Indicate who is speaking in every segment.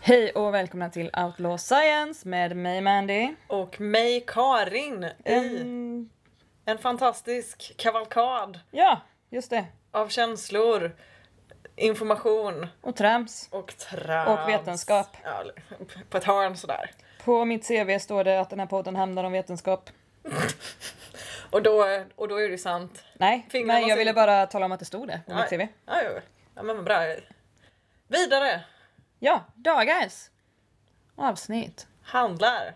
Speaker 1: Hej och välkomna till Outlaw Science med mig Mandy.
Speaker 2: Och mig Karin i
Speaker 1: Mm,
Speaker 2: en fantastisk kavalkad
Speaker 1: ja, just det.
Speaker 2: av känslor, information
Speaker 1: Och trams.
Speaker 2: och trams.
Speaker 1: Och vetenskap.
Speaker 2: Ja, eller, på ett hörn sådär.
Speaker 1: På mitt CV står det att den här podden handlar om vetenskap.
Speaker 2: Och då, och då är det sant.
Speaker 1: Nej,
Speaker 2: Fingrarna
Speaker 1: men jag ville
Speaker 2: ser-
Speaker 1: bara tala om att det stod det på mitt CV.
Speaker 2: Ja, jo. ja men vad bra. Vidare
Speaker 1: Ja, dagars avsnitt
Speaker 2: handlar.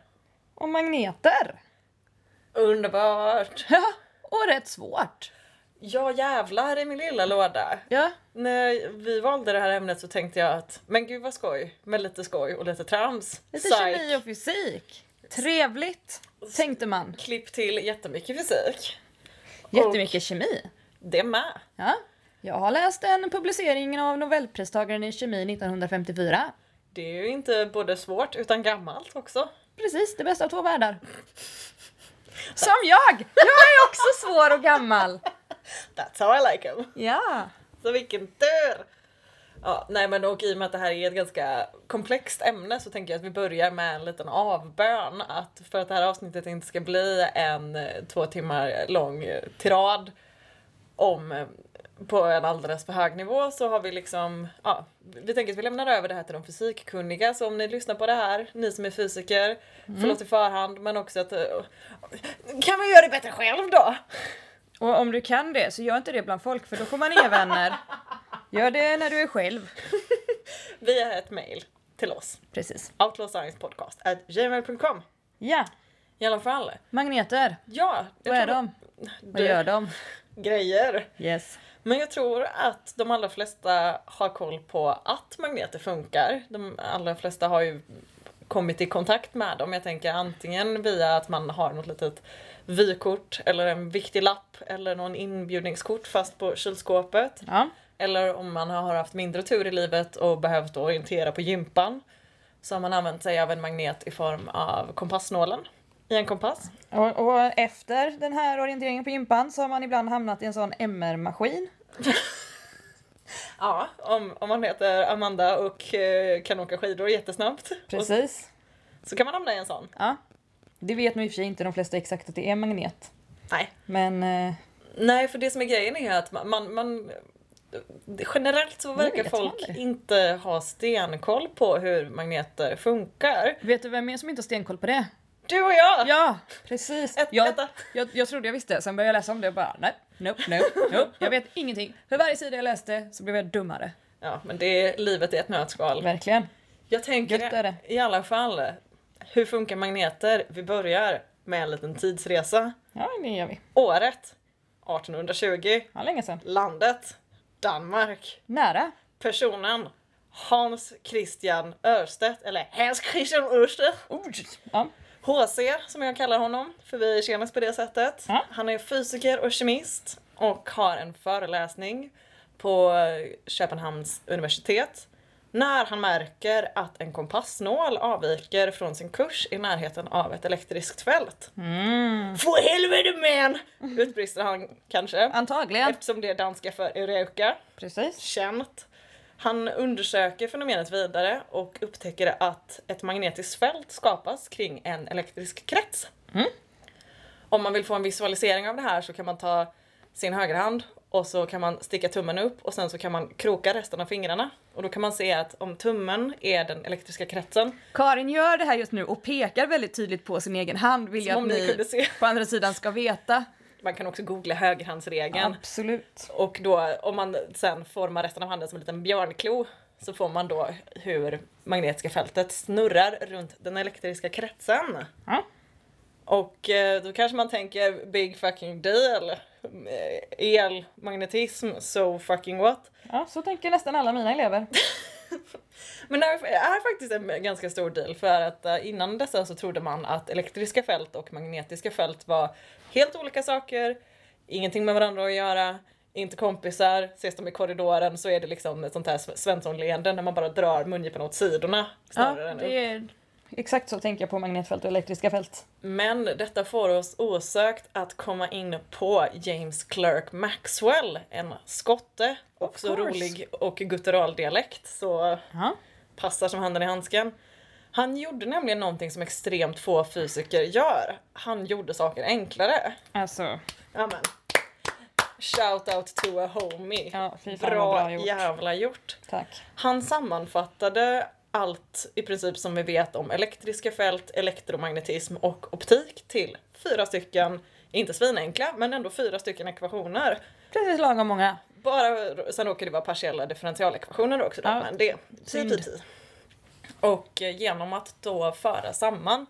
Speaker 1: om magneter.
Speaker 2: Underbart.
Speaker 1: Ja, och rätt svårt.
Speaker 2: Ja jävlar i min lilla låda.
Speaker 1: Ja,
Speaker 2: När vi valde det här ämnet så tänkte jag att men gud vad skoj med lite skoj och lite trams.
Speaker 1: lite
Speaker 2: Psych.
Speaker 1: kemi och fysik. Trevligt, tänkte man.
Speaker 2: Klipp till jättemycket fysik.
Speaker 1: Jättemycket kemi.
Speaker 2: Det med.
Speaker 1: Ja, jag har läst en publicering av Nobelpristagaren i kemi 1954.
Speaker 2: Det är ju inte både svårt utan gammalt också.
Speaker 1: Precis, det bästa av två världar. Som jag! Jag är också svår och gammal.
Speaker 2: That's how I like 'em.
Speaker 1: Ja.
Speaker 2: Så vilken tur! Ja, nej men och i och med att det här är ett ganska komplext ämne så tänker jag att vi börjar med en liten avbön. Att för att det här avsnittet inte ska bli en eh, två timmar lång eh, tirad om eh, på en alldeles för hög nivå så har vi liksom, ja, vi tänker att vi lämnar över det här till de fysikkunniga så om ni lyssnar på det här, ni som är fysiker, förlåt i förhand men också att eh, kan man göra det bättre själv då?
Speaker 1: Och om du kan det, så gör inte det bland folk för då får man inga vänner. Gör det när du är själv.
Speaker 2: Via ett mail till oss.
Speaker 1: Precis.
Speaker 2: outlawsciencepodcast.gmail.com
Speaker 1: Ja,
Speaker 2: I alla fall.
Speaker 1: magneter.
Speaker 2: Ja. jag
Speaker 1: Vad är
Speaker 2: tror-
Speaker 1: de? Vad
Speaker 2: Det-
Speaker 1: gör de?
Speaker 2: Grejer.
Speaker 1: Yes.
Speaker 2: Men jag tror att de allra flesta har koll på att magneter funkar. De allra flesta har ju kommit i kontakt med dem. Jag tänker antingen via att man har något litet vykort eller en viktig lapp eller någon inbjudningskort fast på kylskåpet.
Speaker 1: Ja.
Speaker 2: Eller om man har haft mindre tur i livet och behövt orientera på gympan så har man använt sig av en magnet i form av kompassnålen i en kompass.
Speaker 1: Och, och efter den här orienteringen på gympan så har man ibland hamnat i en sån MR-maskin.
Speaker 2: Ja. Om, om man heter Amanda och eh, kan åka skidor jättesnabbt och,
Speaker 1: Precis.
Speaker 2: så kan man hamna i en sån.
Speaker 1: Ja. Det vet nog i och för sig inte de flesta exakt att det är magnet.
Speaker 2: Nej.
Speaker 1: Men eh,
Speaker 2: Nej, för det som är grejen är att man, man, man generellt så verkar
Speaker 1: vet man
Speaker 2: folk
Speaker 1: det.
Speaker 2: inte ha stenkoll på hur magneter funkar.
Speaker 1: vet du vem mer som inte har stenkoll på det?
Speaker 2: Du och jag!
Speaker 1: Ja, precis.
Speaker 2: Ett-
Speaker 1: Jag,
Speaker 2: vänta.
Speaker 1: jag, jag trodde jag visste, sen började jag läsa om det och bara nej, nope, nope, nope. Jag vet ingenting. För varje sida jag läste så blev jag dummare.
Speaker 2: Ja, men det är livet i ett nötskal.
Speaker 1: Verkligen.
Speaker 2: Jag tänker
Speaker 1: Gött är det.
Speaker 2: i alla fall, hur funkar magneter? Vi börjar med en liten tidsresa.
Speaker 1: Ja, det gör vi.
Speaker 2: Året 1820.
Speaker 1: Ja, länge sedan.
Speaker 2: Landet Danmark.
Speaker 1: Nära.
Speaker 2: Personen Hans Christian Örstedt, eller Hans Christian Örstedt.
Speaker 1: Ja.
Speaker 2: HC som jag kallar honom, för vi känns på det sättet.
Speaker 1: Ja.
Speaker 2: Han är fysiker och kemist och har en föreläsning på Köpenhamns universitet när han märker att en kompassnål avviker från sin kurs i närheten av ett elektriskt fält.
Speaker 1: Mm.
Speaker 2: Få helvete man! Utbrister han kanske.
Speaker 1: Antagligen.
Speaker 2: Eftersom det är danska för Eureka
Speaker 1: Precis.
Speaker 2: känt. Han undersöker fenomenet vidare och upptäcker att ett magnetiskt fält skapas kring en elektrisk krets.
Speaker 1: Mm.
Speaker 2: Om man vill få en visualisering av det här så kan man ta sin högerhand och så kan man sticka tummen upp och sen så kan man kroka resten av fingrarna. Och då kan man se att om tummen är den elektriska kretsen,
Speaker 1: Karin gör det här just nu och pekar väldigt tydligt på sin egen hand. Vill jag
Speaker 2: som
Speaker 1: att
Speaker 2: om ni kunde
Speaker 1: ni
Speaker 2: se.
Speaker 1: på andra sidan ska veta.
Speaker 2: Man kan också googla högerhandsregeln.
Speaker 1: Absolut.
Speaker 2: Och då om man sen formar resten av handen som en liten björnklo så får man då hur magnetiska fältet snurrar runt den elektriska kretsen.
Speaker 1: Ja.
Speaker 2: Och eh, då kanske man tänker big fucking deal. Eh, Elmagnetism, so fucking what?
Speaker 1: ja, så tänker nästan alla mina elever.
Speaker 2: Men det är faktiskt en ganska stor deal för att eh, innan dessa så trodde man att elektriska fält och magnetiska fält var helt olika saker, ingenting med varandra att göra, inte kompisar, ses de i korridoren så är det liksom ett sånt här Sve- Svensson-leende när man bara drar mungiporna åt sidorna
Speaker 1: Ja,
Speaker 2: snarare än
Speaker 1: det är... Exakt så tänker jag på magnetfält och elektriska fält.
Speaker 2: Men detta får oss osökt att komma in på James Clerk Maxwell, en skotte, också
Speaker 1: course.
Speaker 2: rolig och guttural dialekt. Så
Speaker 1: Ja.
Speaker 2: passar som handen i handsken. Han gjorde nämligen någonting som extremt få fysiker gör. Han gjorde saker enklare.
Speaker 1: Alltså,
Speaker 2: Amen. Shout out to a homie.
Speaker 1: ja, fy fan vad
Speaker 2: bra
Speaker 1: bra gjort.
Speaker 2: jävla gjort.
Speaker 1: Tack.
Speaker 2: Han sammanfattade allt i princip som vi vet om elektriska fält, elektromagnetism och optik till fyra stycken, inte svinenkla, men ändå fyra stycken ekvationer.
Speaker 1: Precis lagom många.
Speaker 2: Bara, sen råkar det vara partiella differentialekvationer också då,
Speaker 1: Ja.
Speaker 2: men det
Speaker 1: Synd.
Speaker 2: typ Och eh, genom att då föra samman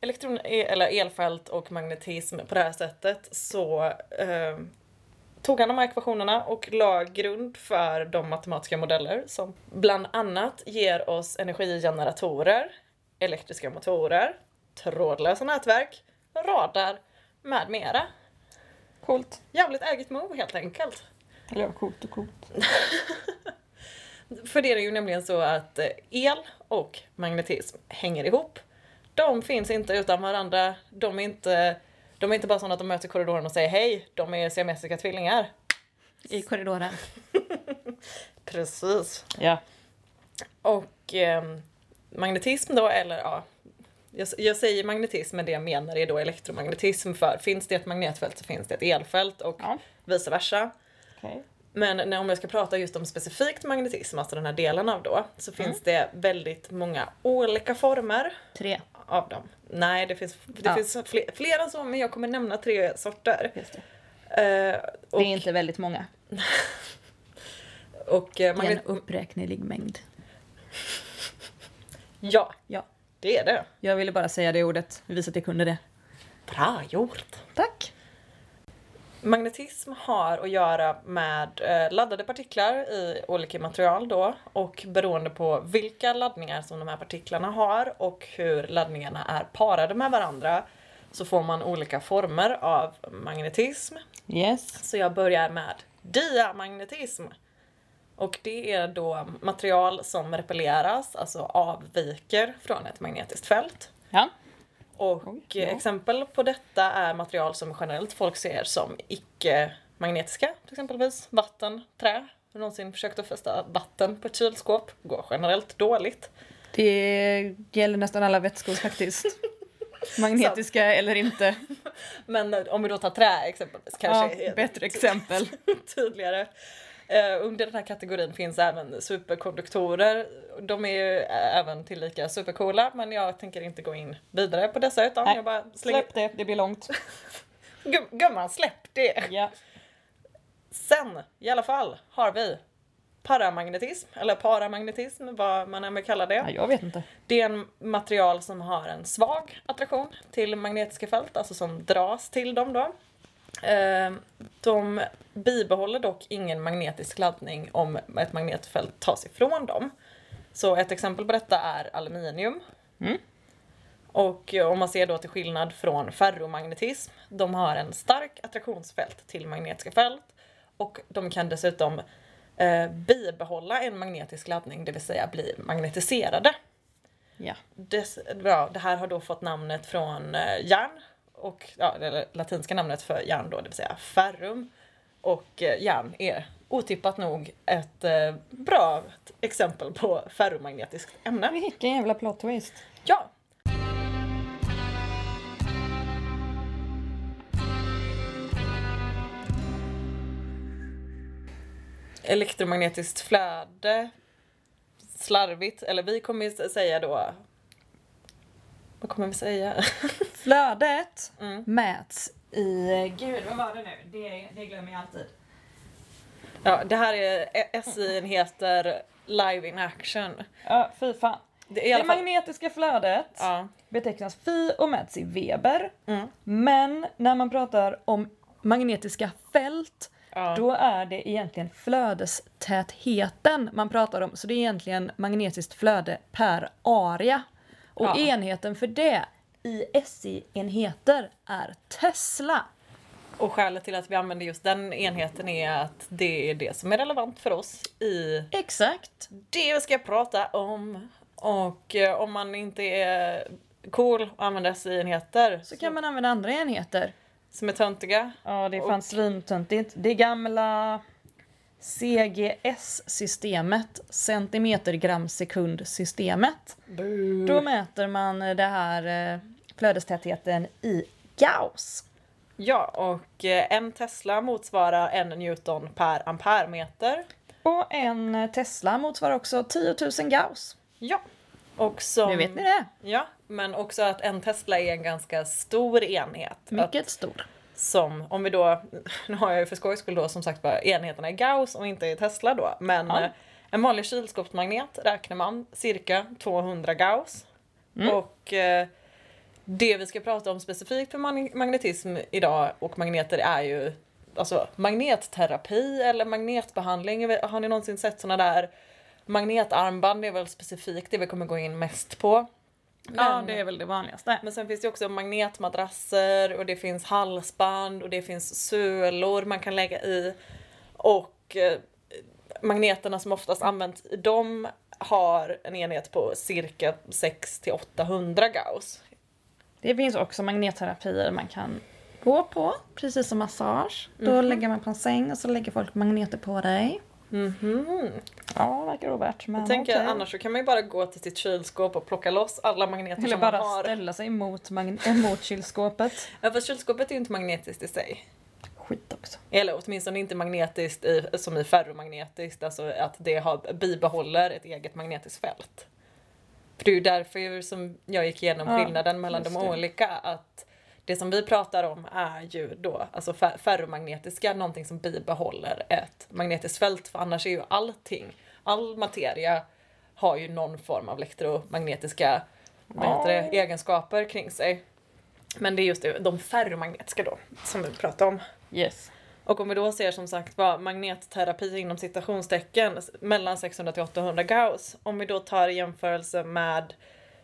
Speaker 2: elektron, e- eller elfält och magnetism på det här sättet så eh, tog han de här ekvationerna och la grund för de matematiska modeller som bland annat ger oss energigeneratorer, elektriska motorer, trådlösa nätverk, radar med mera.
Speaker 1: Coolt.
Speaker 2: Jävligt eget move helt enkelt.
Speaker 1: Eller coolt och coolt.
Speaker 2: För det är ju nämligen så att eh, el och magnetism hänger ihop. De finns inte utan varandra. De är inte, de är inte bara sådana att de möts i korridoren och säger hej. De är siamesiska tvillingar.
Speaker 1: I korridoren.
Speaker 2: Precis.
Speaker 1: Ja.
Speaker 2: Och ehm, magnetism då, eller ja. Jag, jag säger magnetism men det jag menar är då elektromagnetism för finns det ett magnetfält så finns det ett elfält och
Speaker 1: Ja.
Speaker 2: vice versa.
Speaker 1: Okej.
Speaker 2: Men när, om jag ska prata just om specifikt magnetism, alltså den här delen av då, så finns det väldigt många olika former
Speaker 1: Tre.
Speaker 2: av dem. Nej, det finns, det
Speaker 1: Ja.
Speaker 2: finns fler, fler än så, men jag kommer nämna tre sorter.
Speaker 1: Just det.
Speaker 2: Eh,
Speaker 1: det är
Speaker 2: och
Speaker 1: inte väldigt många.
Speaker 2: och eh,
Speaker 1: Det är en
Speaker 2: magnet-
Speaker 1: uppräknelig mängd.
Speaker 2: ja,
Speaker 1: Ja.
Speaker 2: det är det.
Speaker 1: Jag ville bara säga det ordet, visa att jag kunde det.
Speaker 2: Bra gjort!
Speaker 1: Tack.
Speaker 2: Magnetism har att göra med eh, laddade partiklar i olika material då och beroende på vilka laddningar som de här partiklarna har och hur laddningarna är parade med varandra så får man olika former av magnetism.
Speaker 1: Yes.
Speaker 2: Så jag börjar med diamagnetism. Och det är då material som repelleras, alltså avviker från ett magnetiskt fält.
Speaker 1: Ja.
Speaker 2: Och eh,
Speaker 1: Oj, ja.
Speaker 2: exempel på detta är material som generellt folk ser som icke-magnetiska, till exempelvis vatten, trä. Har du någonsin försökt att fästa vatten på ett kylskåp? Går generellt dåligt.
Speaker 1: Det gäller nästan alla vätskor faktiskt. Magnetiska eller inte.
Speaker 2: Men eh, om vi då tar trä exempelvis kanske
Speaker 1: ja,
Speaker 2: är
Speaker 1: bättre exempel.
Speaker 2: tydligare. Eh, under den här kategorin finns även superkonduktorer. De är ju eh, även tillika supercoola men jag tänker inte gå in vidare på dessa utan
Speaker 1: Nej,
Speaker 2: jag bara slänger...
Speaker 1: Släpp det, det blir långt.
Speaker 2: Gum- Gumman, släpp det!
Speaker 1: Ja.
Speaker 2: Sen, i alla fall, har vi paramagnetism, eller paramagnetism, vad man än vill kalla det.
Speaker 1: ja, jag vet inte.
Speaker 2: Det är en material som har en svag attraktion till magnetiska fält, alltså som dras till dem då. Eh, De bibehåller dock ingen magnetisk laddning om ett magnetfält tas ifrån dem. Så ett exempel på detta är aluminium.
Speaker 1: Mm.
Speaker 2: Och eh, om man ser då till skillnad från ferromagnetism, de har en stark attraktionsfält till magnetiska fält och de kan dessutom eh, bibehålla en magnetisk laddning, det vill säga bli magnetiserade.
Speaker 1: Ja.
Speaker 2: Des, ja, det här har då fått namnet från eh, järn, och, ja, det latinska namnet för järn då, det vill säga ferrum. Och eh, järn är otippat nog ett eh, bra exempel på ferromagnetiskt ämne.
Speaker 1: Vilken jävla plot twist.
Speaker 2: Ja. Elektromagnetiskt flöde. Slarvigt, eller vi kommer ju säga då... Vad kommer vi säga?
Speaker 1: Flödet
Speaker 2: Mm.
Speaker 1: mäts i... Eh, Gud, vad var det nu? Det, det glömmer jag alltid.
Speaker 2: Ja, det här är E- SI-enheter live in action.
Speaker 1: Ja, fy fan.
Speaker 2: Det är i alla
Speaker 1: det
Speaker 2: fall...
Speaker 1: magnetiska flödet
Speaker 2: Ja.
Speaker 1: betecknas fi och mäts i Weber.
Speaker 2: Mm.
Speaker 1: Men när man pratar om magnetiska fält
Speaker 2: Ja.
Speaker 1: Då är det egentligen flödestätheten man pratar om. Så det är egentligen magnetiskt flöde per area. Och
Speaker 2: Ja.
Speaker 1: enheten för det i SI-enheter är Tesla.
Speaker 2: Och skälet till att vi använder just den enheten är att det är det som är relevant för oss i
Speaker 1: Exakt.
Speaker 2: det vi ska prata om. Och eh, om man inte är cool och använder SI-enheter
Speaker 1: Så kan man använda andra enheter.
Speaker 2: som är töntiga.
Speaker 1: Ja, det är
Speaker 2: fan
Speaker 1: fan svintöntigt. Det gamla CGS-systemet, centimetergramsekundsystemet.
Speaker 2: Bu.
Speaker 1: Då mäter man det här eh, flödestätheten i Gauss.
Speaker 2: Ja, och eh, en Tesla motsvarar en Newton per amperemeter.
Speaker 1: Och en Tesla motsvarar också 10 000 Gauss.
Speaker 2: Ja. Och som,
Speaker 1: Nu vet ni det.
Speaker 2: Ja, men också att en Tesla är en ganska stor enhet. Att,
Speaker 1: Mycket stor.
Speaker 2: som, om vi då, nu har jag ju för skojs skull då som sagt bara enheterna i Gauss och inte i Tesla då. Men
Speaker 1: Ja.
Speaker 2: eh, en vanlig kylskåpsmagnet räknar man cirka 200 Gauss. Och eh, det vi ska prata om specifikt för man- magnetism idag och magneter är ju alltså magnetterapi eller magnetbehandling. Har ni någonsin sett såna där magnetarmband? Det är väl specifikt det vi kommer gå in mest på.
Speaker 1: Ja,
Speaker 2: Men-
Speaker 1: det är väl det vanligaste.
Speaker 2: men sen finns det också magnetmadrasser och det finns halsband och det finns sulor man kan lägga i. Och eh, magneterna som oftast används i dem har en enhet på cirka 6 till 800 gauss.
Speaker 1: Det finns också magnetterapier man kan gå på, precis som massage. Då lägger man på en säng och så lägger folk magneter på dig. Ja, verkar ovärt men
Speaker 2: Jag tänker
Speaker 1: Mhm. okej.
Speaker 2: annars så kan man ju bara gå till sitt kylskåp och plocka loss alla magneter
Speaker 1: Eller
Speaker 2: som
Speaker 1: bara
Speaker 2: liksom man har.
Speaker 1: ställa sig mot, magn- äh, mot kylskåpet.
Speaker 2: Ja, för kylskåpet är ju inte magnetiskt i sig.
Speaker 1: Skit också.
Speaker 2: Eller åtminstone inte magnetiskt i, som i ferromagnetiskt, alltså att det har, bibehåller ett eget magnetiskt fält. För det är ju därför ju som jag gick igenom
Speaker 1: Ja,
Speaker 2: skillnaden mellan de
Speaker 1: just det.
Speaker 2: olika, att det som vi pratar om är ju då alltså fer- ferromagnetiska, någonting som bibehåller ett magnetiskt fält, för annars är ju allting, all materia har ju någon form av elektromagnetiska vad heter det, egenskaper kring sig. Men det är just det, de ferromagnetiska då, som vi pratar om.
Speaker 1: Yes.
Speaker 2: Och om vi då ser som sagt vad magnetterapi inom citationstecken s- mellan 600 till 800 Gauss. Om vi då tar i jämförelse med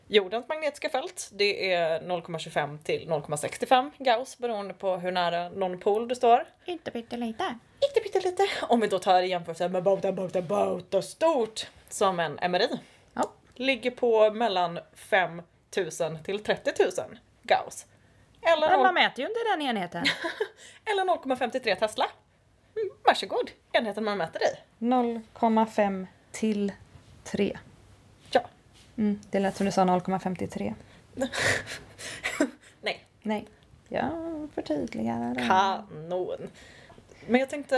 Speaker 2: jordens magnetiska fält. Det är 0,25 till 0,65 Gauss beroende på hur nära någon pol du står.
Speaker 1: Inte pyttelite.
Speaker 2: Inte pyttelite. Om vi då tar i jämförelse med båten, båten, båten stort som en MRI.
Speaker 1: Ja.
Speaker 2: Ligger på mellan 5000 till 30 000 Gauss. Eller
Speaker 1: Men
Speaker 2: noll-
Speaker 1: man mäter ju inte den enheten.
Speaker 2: eller 0,53 Tesla. Mm, Varsågod, enheten man mäter i.
Speaker 1: 0,5 till 3.
Speaker 2: Ja.
Speaker 1: Mm, det lät som du sa 0,53.
Speaker 2: Nej,
Speaker 1: Nej. Ja, förtydligare. det.
Speaker 2: kanon. Men jag tänkte...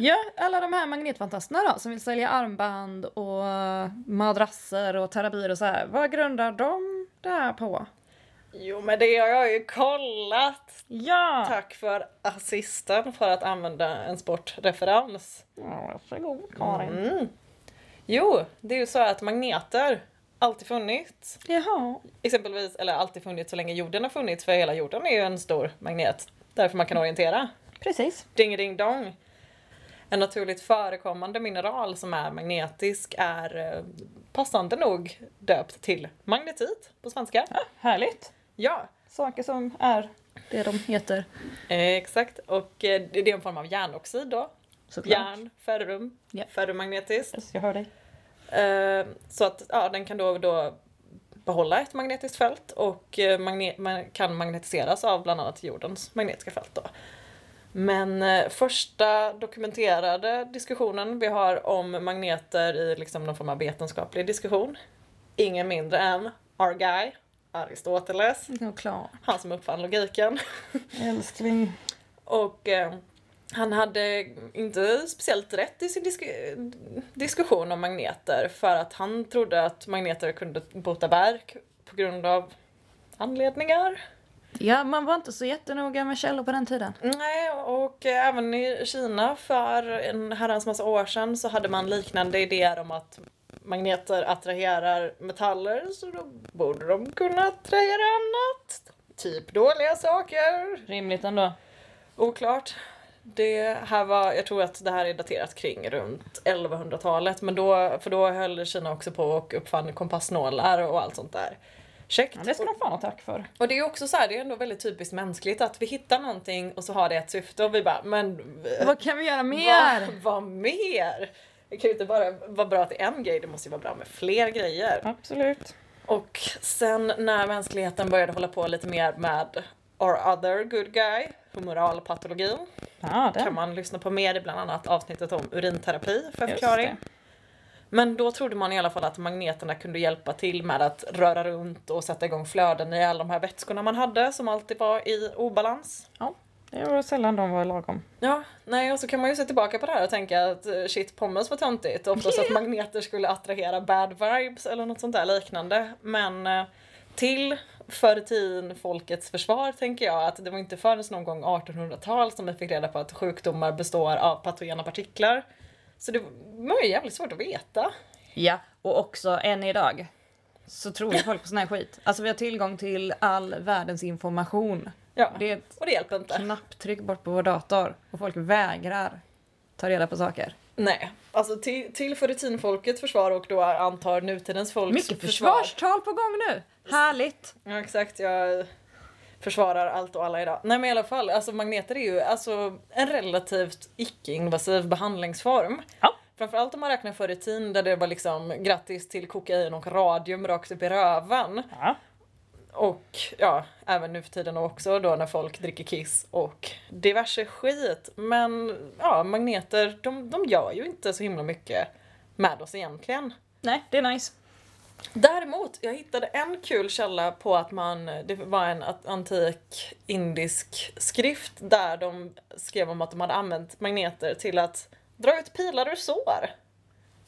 Speaker 1: Ja, alla de här magnetfantasterna då som vill sälja armband och eh, madrasser och terapier och så här. Vad grundar de det här på?
Speaker 2: Jo men det har jag ju kollat!
Speaker 1: Ja!
Speaker 2: Tack för assisten för att använda en sportreferens.
Speaker 1: Ja, Varsågod Karin.
Speaker 2: Mm. Jo, det är ju så att magneter alltid funnits.
Speaker 1: Jaha.
Speaker 2: Exempelvis, eller alltid funnits så länge jorden har funnits för hela jorden är ju en stor magnet. Därför man kan orientera.
Speaker 1: Precis.
Speaker 2: Ding ding dong. En naturligt förekommande mineral som är magnetisk är eh, passande nog döpt till magnetit på svenska.
Speaker 1: Härligt.
Speaker 2: Ja,
Speaker 1: Saker som är det de heter.
Speaker 2: eh, exakt. Och eh, det det är en form av järnoxid då. Järn, ferrum,
Speaker 1: Ja.
Speaker 2: ferromagnetiskt.
Speaker 1: Yes, jag hör dig.
Speaker 2: Eh, Så att ja, den kan då, då behålla ett magnetiskt fält och eh, magne- man kan magnetiseras av bland annat jordens magnetiska fält. Då. Men eh, första dokumenterade diskussionen vi har om magneter i liksom någon form av vetenskaplig diskussion, ingen mindre än our guy, Aristoteles,
Speaker 1: Såklart.
Speaker 2: han som uppfann logiken.
Speaker 1: Älskling.
Speaker 2: Och eh, han hade inte speciellt rätt i sin disku- diskussion om magneter för att han trodde att magneter kunde bota verk på grund av anledningar.
Speaker 1: Ja, man var inte så jättenoga med källor på den tiden.
Speaker 2: Nej, och eh, även i Kina för en herrans massa år sedan så hade man liknande idéer om att magneter attraherar metaller så då borde de kunna attrahera annat. Typ dåliga saker.
Speaker 1: Rimligt ändå.
Speaker 2: Oklart. Det här var, jag tror att det här är daterat kring runt 1100-talet, men då, för då höll Kina också på och uppfann kompassnålar och allt sånt där. Käckt.
Speaker 1: Ja, det ska de fan ha tack för.
Speaker 2: Och det är också så här, det är ändå väldigt typiskt mänskligt att vi hittar någonting och så har det ett syfte och vi bara, men eh,
Speaker 1: Vad kan vi göra mer?
Speaker 2: Vad, vad mer? Det kan ju inte bara vara bra till en grej, det måste ju vara bra med fler grejer.
Speaker 1: Absolut.
Speaker 2: Och sen när mänskligheten började hålla på lite mer med our other good guy, på moralpatologin.
Speaker 1: Ja, den.
Speaker 2: Kan man lyssna på mer i bland annat avsnittet om urinterapi för
Speaker 1: Just
Speaker 2: förklaring.
Speaker 1: det.
Speaker 2: Men då trodde man i alla fall att magneterna kunde hjälpa till med att röra runt och sätta igång flöden i alla de här vätskorna man hade som alltid var i obalans.
Speaker 1: Ja, det var sällan de var lagom.
Speaker 2: Ja, nej och så kan man ju se tillbaka på det här och tänka att eh, shit pommes var töntigt. Oftast att magneter skulle attrahera bad vibes eller något sånt där liknande. Men eh, till förr i tiden folkets försvar tänker jag att det var inte förrän någon gång 1800-tal som vi fick reda på att sjukdomar består av patogena partiklar. Så det var ju jävligt svårt att veta.
Speaker 1: Ja, och också än idag så tror ju folk på sån här skit. Alltså vi har tillgång till all världens information.
Speaker 2: Ja,
Speaker 1: Det är ett
Speaker 2: och det hjälper inte.
Speaker 1: knapptryck bort på vår dator och folk vägrar ta reda på saker.
Speaker 2: Nej, alltså till, till för rutinfolkets försvar och då antar nutidens folks
Speaker 1: Mycket försvarstal på gång nu! Härligt!
Speaker 2: Ja exakt, jag försvarar allt och alla idag. Nej men i alla fall, alltså magneter är ju alltså, en relativt icke-invasiv behandlingsform.
Speaker 1: Ja.
Speaker 2: Framförallt om man räknar för rutin där det var liksom grattis till kokain och radium rakt upp i röven.
Speaker 1: Ja.
Speaker 2: Och ja, även nu för tiden också då när folk dricker kiss och diverse skit. Men ja, magneter de, de gör ju inte så himla mycket med oss egentligen.
Speaker 1: Nej, det är nice.
Speaker 2: Däremot, jag hittade en kul källa på att man, det var en at- antik indisk skrift där de skrev om att de hade använt magneter till att dra ut pilar ur sår.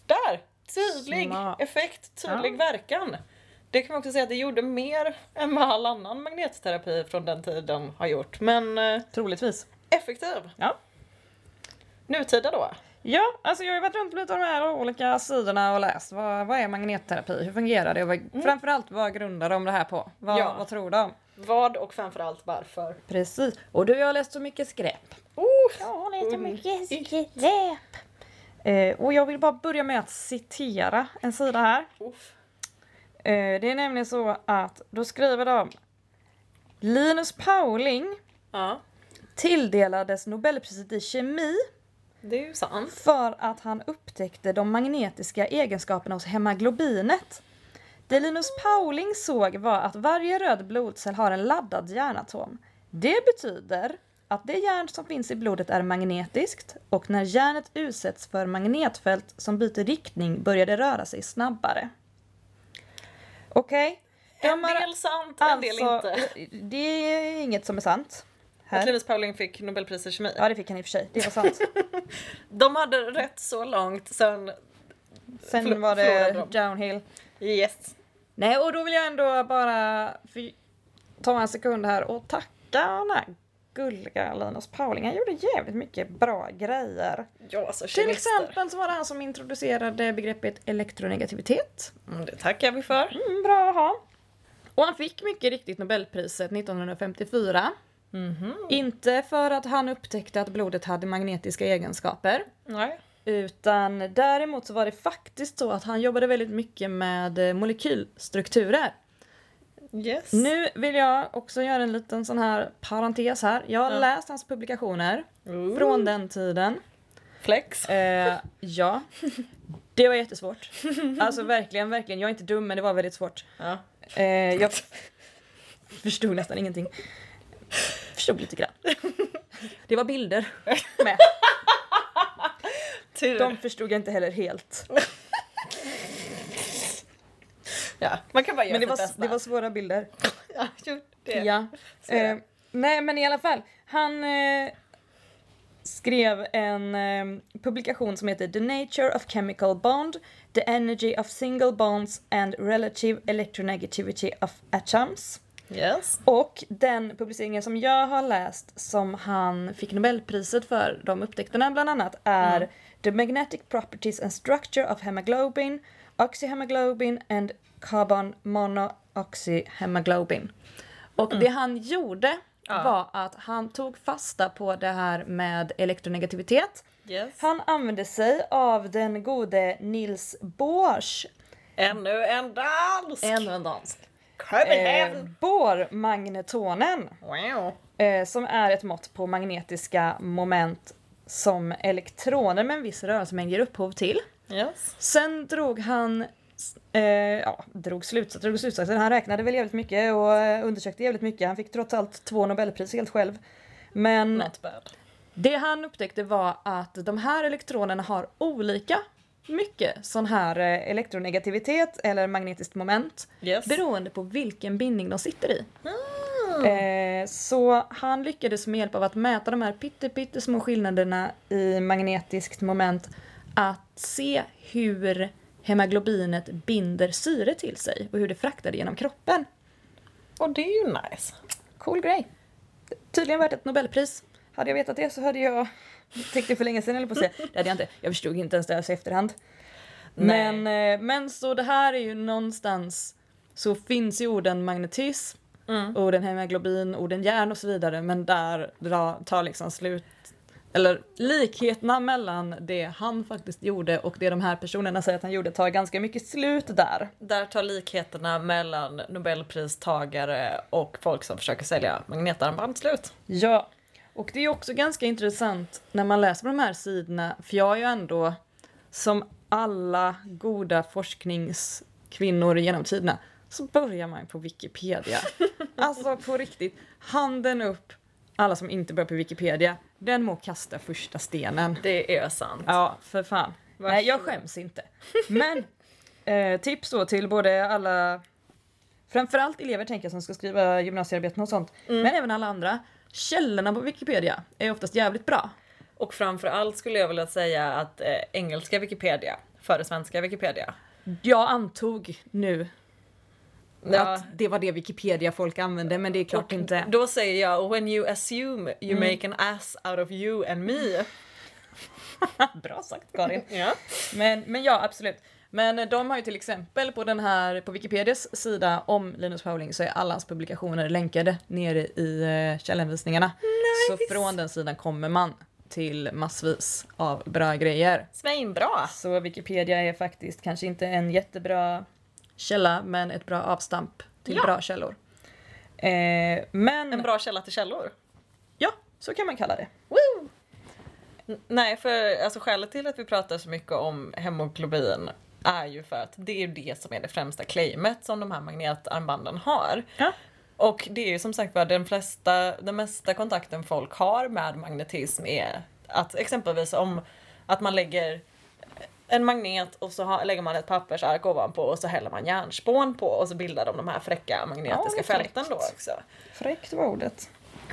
Speaker 2: Där! Tydlig
Speaker 1: Smart.
Speaker 2: effekt, tydlig verkan. Det kan man också säga att det gjorde mer än vad all annan magnetterapi från den tiden har gjort. Men eh,
Speaker 1: Troligtvis.
Speaker 2: effektiv.
Speaker 1: Ja.
Speaker 2: Nutida då.
Speaker 1: Ja, alltså jag har ju varit runt på lite av de här olika sidorna och läst. Vad, vad är magnetterapi? Hur fungerar det? Och vad, framförallt, vad grundar de det här på? Vad,
Speaker 2: Ja.
Speaker 1: vad tror de?
Speaker 2: Vad och framförallt varför.
Speaker 1: Precis. Och du, jag har läst så mycket skräp.
Speaker 2: Oh,
Speaker 1: Jag läser mycket skräp. Eh, och jag vill bara börja med att citera en sida här.
Speaker 2: uff.
Speaker 1: Eh, det är nämligen så att då skriver de Linus Pauling
Speaker 2: Ja,
Speaker 1: tilldelades Nobelpriset i kemi
Speaker 2: det är ju sant.
Speaker 1: för att han upptäckte de magnetiska egenskaperna hos hemaglobinet. Det Linus Pauling såg var att varje röd blodcell har en laddad järnatom. Det betyder att det järn som finns i blodet är magnetiskt och när järnet utsätts för magnetfält som byter riktning börjar det röra sig snabbare. Okej?
Speaker 2: En
Speaker 1: De har
Speaker 2: del sant, en del
Speaker 1: alltså-
Speaker 2: inte.
Speaker 1: Det är inget som är sant.
Speaker 2: Att
Speaker 1: Här.
Speaker 2: Linus Pauling fick Nobelpriset i kemi.
Speaker 1: Ja, det fick han i och för sig. Det var sant.
Speaker 2: De hade rätt så långt sen... Förlo-
Speaker 1: Sen var
Speaker 2: förlorade
Speaker 1: det
Speaker 2: de.
Speaker 1: downhill.
Speaker 2: Yes.
Speaker 1: Nej, och då vill jag ändå bara för- ta en sekund här och tacka den här gulliga Linus Pauling. Han gjorde jävligt mycket bra grejer.
Speaker 2: Ja, alltså
Speaker 1: Till
Speaker 2: kemister.
Speaker 1: exempel så var det han som introducerade begreppet elektronegativitet.
Speaker 2: Mm, det tackar vi för.
Speaker 1: Mm, bra att ha. Och han fick mycket riktigt Nobelpriset 1954. Mm.
Speaker 2: Mhm.
Speaker 1: Inte för att han upptäckte att blodet hade magnetiska egenskaper.
Speaker 2: Nej.
Speaker 1: Utan däremot så var det faktiskt så att han jobbade väldigt mycket med eh, molekylstrukturer.
Speaker 2: Yes.
Speaker 1: Nu vill jag också göra en liten sån här parentes här. Jag har
Speaker 2: Ja.
Speaker 1: läst hans publikationer
Speaker 2: Ooh.
Speaker 1: från den tiden.
Speaker 2: Flex.
Speaker 1: Eh, ja. Det var jättesvårt. Alltså verkligen, verkligen. Jag är inte dum men det var väldigt svårt.
Speaker 2: Ja.
Speaker 1: Eh, jag förstod nästan ingenting. Förstod lite grann. Det var bilder med.
Speaker 2: Tur.
Speaker 1: De förstod jag inte heller helt.
Speaker 2: Ja. Man kan bara göra
Speaker 1: Men det
Speaker 2: sitt
Speaker 1: var,
Speaker 2: bästa.
Speaker 1: det var svåra bilder.
Speaker 2: Ja, jo, det.
Speaker 1: Ja.
Speaker 2: Så är det.
Speaker 1: Eh, nej men i alla fall, han eh, skrev en eh, publikation som heter The Nature of Chemical Bond, The Energy of Single Bonds and Relative Electronegativity of Atoms.
Speaker 2: Yes.
Speaker 1: Och den publiceringen som jag har läst som han fick Nobelpriset för de upptäckterna bland annat är The Magnetic Properties and Structure of Hemoglobin, Oxyhemoglobin and Carbon Monooxyhemoglobin. Och det han gjorde
Speaker 2: Ja.
Speaker 1: var att han tog fasta på det här med elektronegativitet.
Speaker 2: Yes.
Speaker 1: Han använde sig av den gode Niels Bohrs
Speaker 2: Ännu en dansk!
Speaker 1: Ännu en dansk. Eh,
Speaker 2: Copenhagen!
Speaker 1: Bohr-magnetonen.
Speaker 2: Wow.
Speaker 1: eh, som är ett mått på magnetiska moment som elektroner med en viss rörelsemängd ger upphov till.
Speaker 2: Yes.
Speaker 1: Sen drog han eh, ja, drog slutsatser, drog slutsatser. Han räknade väl jävligt mycket och eh, undersökte jävligt mycket. Han fick trots allt två Nobelpris helt själv. Men
Speaker 2: Not bad.
Speaker 1: det han upptäckte var att de här elektronerna har olika mycket sån här eh, elektronegativitet eller magnetiskt moment
Speaker 2: Yes.
Speaker 1: beroende på vilken bindning de sitter i.
Speaker 2: Mm.
Speaker 1: Eh, så han lyckades med hjälp av att mäta de här pytte, pyttesmå skillnaderna i magnetiskt moment att se hur hemoglobinet binder syre till sig och hur det fraktar det genom kroppen.
Speaker 2: Och det är ju nice.
Speaker 1: Cool grej. Tydligen värt ett nobelpris. Hade jag vetat det så hade jag täckt det för länge sedan eller på att säga. Det hade jag inte. Jag förstod inte ens det här så i efterhand.
Speaker 2: Nej.
Speaker 1: Men, eh, men så det här är ju någonstans så finns ju orden magnetism,
Speaker 2: Mm.
Speaker 1: orden hemoglobin, orden järn och så vidare men där dra- tar liksom slut eller likheterna mellan det han faktiskt gjorde och det de här personerna säger att han gjorde tar ganska mycket slut där.
Speaker 2: Där tar likheterna mellan nobelpristagare och folk som försöker sälja magnetarmband slut.
Speaker 1: Ja, och det är också ganska intressant när man läser på de här sidorna, för jag är ju ändå som alla goda forskningskvinnor genom tiderna, så börjar man på Wikipedia. Alltså på riktigt, handen upp, alla som inte börjar på Wikipedia, den må kasta första stenen.
Speaker 2: Det är sant.
Speaker 1: Ja, för fan. Nej, jag skäms inte. Men eh, tips då till både alla, framförallt elever tänker jag som ska skriva gymnasiearbeten och sånt, men även alla andra. Källorna på Wikipedia är oftast jävligt bra.
Speaker 2: Och framförallt skulle jag vilja säga att eh, engelska Wikipedia före svenska Wikipedia.
Speaker 1: Jag antog nu
Speaker 2: Ja,
Speaker 1: att det var det Wikipedia folk använde, men det är klart inte. Mm.
Speaker 2: Då säger jag when you assume you make an ass out of you and me.
Speaker 1: Bra sagt Karin.
Speaker 2: Ja.
Speaker 1: Men, men ja, absolut. Men eh, de har ju till exempel på den här, på Wikipedias sida om Linus Pauling så är alla hans publikationer länkade nere i eh, källhänvisningarna. Så från den sidan kommer man till massvis av bra grejer.
Speaker 2: Svinbra!
Speaker 1: Så Wikipedia är faktiskt kanske inte en jättebra källa men ett bra avstamp till
Speaker 2: Ja.
Speaker 1: bra källor. Eh, men
Speaker 2: En bra källa till källor.
Speaker 1: ja, så kan man kalla det.
Speaker 2: Woo! N- Nej, för alltså skälet till att vi pratar så mycket om hemoglobin är ju för att det är ju det som är det främsta claimet som de här magnetarmbanden har.
Speaker 1: Ja.
Speaker 2: Och det är ju som sagt var den flesta, den mesta kontakten folk har med magnetism är att exempelvis om att man lägger en magnet och så har, lägger man ett pappersark ovanpå och så häller man järnspån på och så bildar de de här fräcka magnetiska
Speaker 1: Ja,
Speaker 2: fälten då
Speaker 1: fräckt.
Speaker 2: också.
Speaker 1: Fräckt var ordet.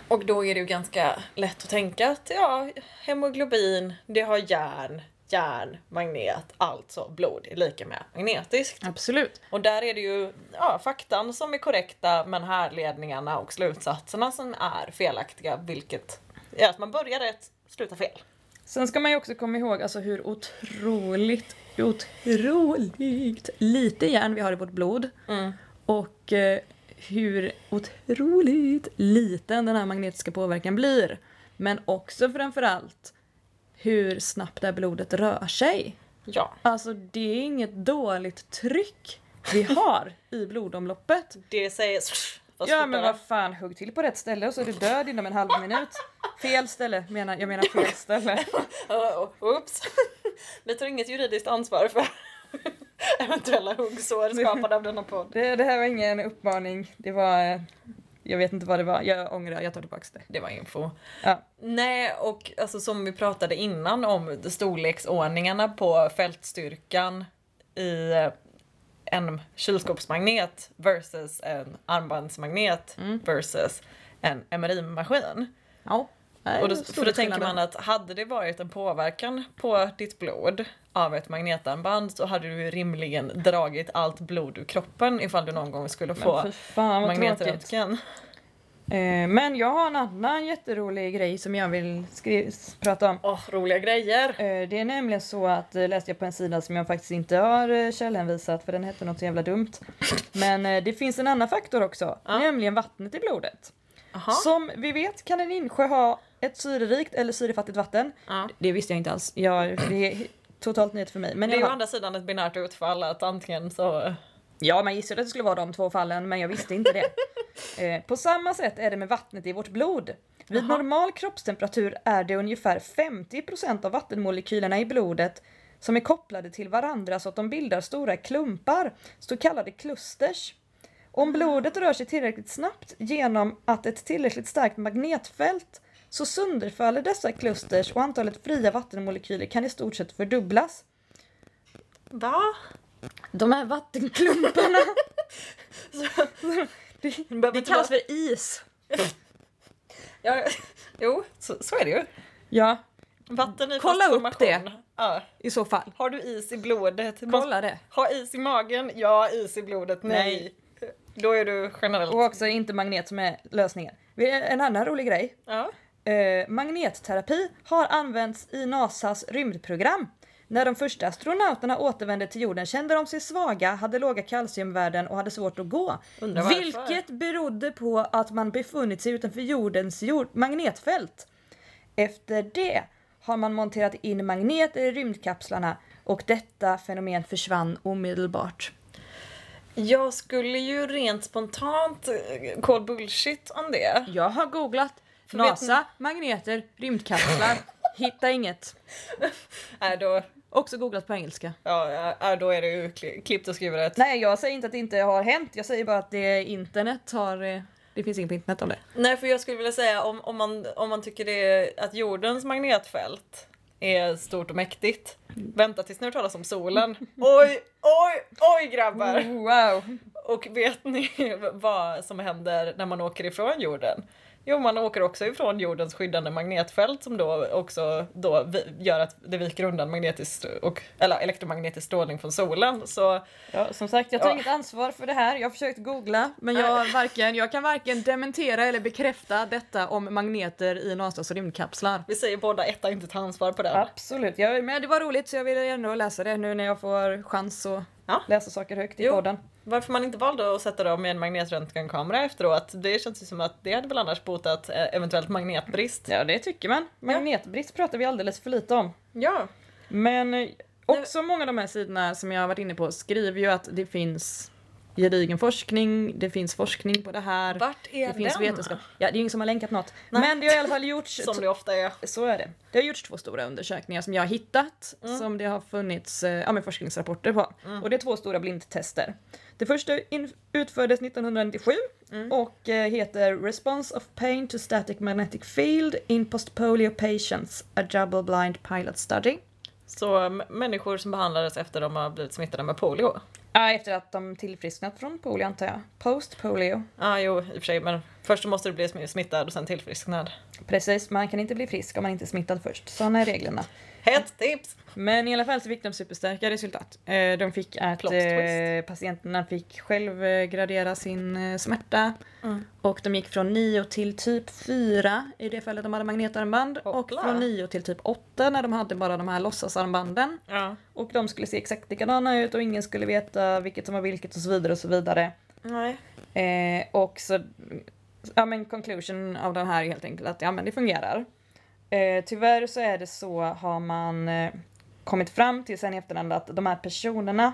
Speaker 2: Och då är det ju ganska lätt att tänka att ja, hemoglobin, det har järn, järn, magnet, alltså blod är lika med magnetiskt.
Speaker 1: Absolut.
Speaker 2: Och där är det ju ja, faktan som är korrekta men härledningarna och slutsatserna som är felaktiga vilket är att man börjar rätt, slutar fel.
Speaker 1: Sen ska man ju också komma ihåg alltså hur otroligt, otroligt lite järn vi har i vårt blod. Och eh, hur otroligt liten den här magnetiska påverkan blir. Men också framförallt hur snabbt det här blodet rör sig.
Speaker 2: Ja,
Speaker 1: Alltså det är inget dåligt tryck vi har i blodomloppet.
Speaker 2: det sägs... fast
Speaker 1: Ja men
Speaker 2: fortare.
Speaker 1: vad fan, hugg till på rätt ställe och så är du död inom en halv minut. Fel ställe, menar, jag menar fel ställe.
Speaker 2: Oh, oops. Vi tar inget juridiskt ansvar för eventuella huggsår skapade av denna podd.
Speaker 1: Det, det här var ingen uppmaning. Det var... eh, Jag vet inte vad det var. Jag ångrar, jag tar tillbaka det.
Speaker 2: Det var info.
Speaker 1: Ja.
Speaker 2: Nej, och alltså, som vi pratade innan om storleksordningarna på fältstyrkan i eh, en kylskåpsmagnet versus en armbandsmagnet versus en MRI-maskin.
Speaker 1: Mm. Ja.
Speaker 2: Och då, för då tänker man att hade det varit en påverkan på ditt blod av ett magnetarmband så hade du ju rimligen dragit allt blod ur kroppen ifall du någon gång skulle få
Speaker 1: Fy fan vad tråkigt.
Speaker 2: magnetröntgen.
Speaker 1: Eh, men jag har en annan jätterolig grej som jag vill skri- s- prata om.
Speaker 2: Åh, roliga grejer!
Speaker 1: Eh, det är nämligen så att, eh, läste jag på en sida som jag faktiskt inte har eh, källhänvisat för den hette något så jävla dumt. Men eh, det finns en annan faktor också, nämligen vattnet i blodet.
Speaker 2: Aha.
Speaker 1: Som vi vet kan en insjö ha ett syrerikt eller syrefattigt vatten.
Speaker 2: Ja.
Speaker 1: Det visste jag inte alls. Jag, det är totalt nytt för mig. Men
Speaker 2: Det är
Speaker 1: jag
Speaker 2: ju å andra sidan ett binärt utfall att antingen så...
Speaker 1: Ja, man gissade att det skulle vara de två fallen, men jag visste inte det. Eh, på samma sätt är det med vattnet i vårt blod. Vid normal kroppstemperatur är det ungefär 50% av vattenmolekylerna i blodet som är kopplade till varandra så att de bildar stora klumpar, så kallade clusters.
Speaker 2: Mm.
Speaker 1: Om blodet rör sig tillräckligt snabbt genom att ett tillräckligt starkt magnetfält så sönderfaller dessa klusters och antalet fria vattenmolekyler kan i stort sett fördubblas.
Speaker 2: Va?
Speaker 1: De här vattenklumparna,
Speaker 2: Det behöver
Speaker 1: det
Speaker 2: inte vara-
Speaker 1: kallas för is.
Speaker 2: Ja, jo, så, så är det ju.
Speaker 1: Ja,
Speaker 2: Vatten i
Speaker 1: Kolla
Speaker 2: fast
Speaker 1: upp
Speaker 2: formation.
Speaker 1: det.
Speaker 2: Ja.
Speaker 1: i så fall.
Speaker 2: Har du is i blodet?
Speaker 1: Kolla det.
Speaker 2: Ha is i magen? Ja, is i blodet. Nej. Då är du generellt...
Speaker 1: Och också inte magnet som är lösningen. En annan rolig grej.
Speaker 2: Ja.
Speaker 1: Eh, magnetterapi har använts i NASAs rymdprogram. När de första astronauterna återvände till jorden kände de sig svaga, hade låga kalciumvärden och hade svårt att gå.
Speaker 2: Undrar varför.
Speaker 1: Vilket berodde på att man befunnit sig utanför jordens jord- magnetfält. Efter det har man monterat in magneter i rymdkapslarna och detta fenomen försvann omedelbart.
Speaker 2: Jag skulle ju rent spontant eh, call bullshit om det.
Speaker 1: Jag har googlat
Speaker 2: vet
Speaker 1: NASA, magneter, rymdkapslar, hitta inget.
Speaker 2: Äh, då,
Speaker 1: Också googlat på engelska.
Speaker 2: ja, äh, då är det ju kli- klippt och skuret.
Speaker 1: Nej jag säger inte att det inte har hänt, jag säger bara att det internet har... eh, Det finns inget på internet om det.
Speaker 2: Nej, för jag skulle vilja säga om, om, man, om man tycker det är att jordens magnetfält är stort och mäktigt. Vänta tills ni har hört talas om solen. Oj, oj, oj grabbar!
Speaker 1: Wow!
Speaker 2: Och vet ni vad som händer när man åker ifrån jorden? Jo, man åker också ifrån jordens skyddande magnetfält som då också då vi- gör att det viker undan magnetisk och, eller elektromagnetisk strålning från solen. Så
Speaker 1: Ja, som sagt, jag tar
Speaker 2: Ja.
Speaker 1: inget ansvar för det här. Jag har försökt googla, men jag, varken, jag kan varken dementera eller bekräfta detta om magneter i NASAs rymdkapslar.
Speaker 2: vi säger båda etta inte ta ansvar på den.
Speaker 1: Absolut, jag, men det var roligt så jag ville ändå läsa det nu när jag får chans att
Speaker 2: Ja.
Speaker 1: läsa saker högt i
Speaker 2: Jo.
Speaker 1: podden.
Speaker 2: Varför man inte valde att sätta dem i en magnetröntgenkamera efteråt, det känns ju som att det hade väl annars botat eh, eventuellt magnetbrist.
Speaker 1: Ja, det tycker man. Magnetbrist pratar vi alldeles för lite om.
Speaker 2: Ja.
Speaker 1: Men eh, också många av de här sidorna som jag har varit inne på skriver ju att det finns gedigen forskning, det finns forskning på det här.
Speaker 2: Vart är
Speaker 1: det finns
Speaker 2: den?
Speaker 1: vetenskap. Ja, det är ju ingen som har länkat något. Men det har i alla fall gjorts...
Speaker 2: Som det ofta är.
Speaker 1: Så är det. Det har gjorts två stora undersökningar som jag har hittat
Speaker 2: Mm.
Speaker 1: som det har funnits eh, ja, men forskningsrapporter på. Och det är två stora blindtester. Det första in- utfördes 1997
Speaker 2: Mm.
Speaker 1: och eh, heter Response of Pain to Static Magnetic Field in Postpolio Patients, a Double Blind Pilot Study.
Speaker 2: Så m- människor som behandlades efter de har blivit smittade med polio.
Speaker 1: Ja, efter att de tillfrisknat från polio antar jag. Post polio.
Speaker 2: Ja, ah, jo, i och för sig, men först så måste du bli smi- smittad och sen tillfrisknad.
Speaker 1: Precis, man kan inte bli frisk om man inte är smittad först. Sådana är reglerna.
Speaker 2: Hett tips!
Speaker 1: Men i alla fall så fick de superstarka resultat. Eh, De fick att
Speaker 2: Plot twist.
Speaker 1: eh, patienterna fick själv eh, gradera sin eh, smärta. Och de gick från 9 till typ 4 i det fallet de hade magnetarmband.
Speaker 2: Hoppla.
Speaker 1: Och från 9 till typ 8 när de hade bara de här låtsasarmbanden.
Speaker 2: Ja.
Speaker 1: Och de skulle se exakt likadana ut och ingen skulle veta vilket som var vilket och så vidare och så vidare.
Speaker 2: Nej.
Speaker 1: Eh, och så, ja men conclusion av den här är helt enkelt att ja men det fungerar. Eh, tyvärr så är det så har man eh, kommit fram till sen i efterhand att de här personerna,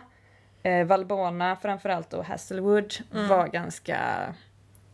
Speaker 1: eh, Valbona framförallt och Hasselwood var ganska,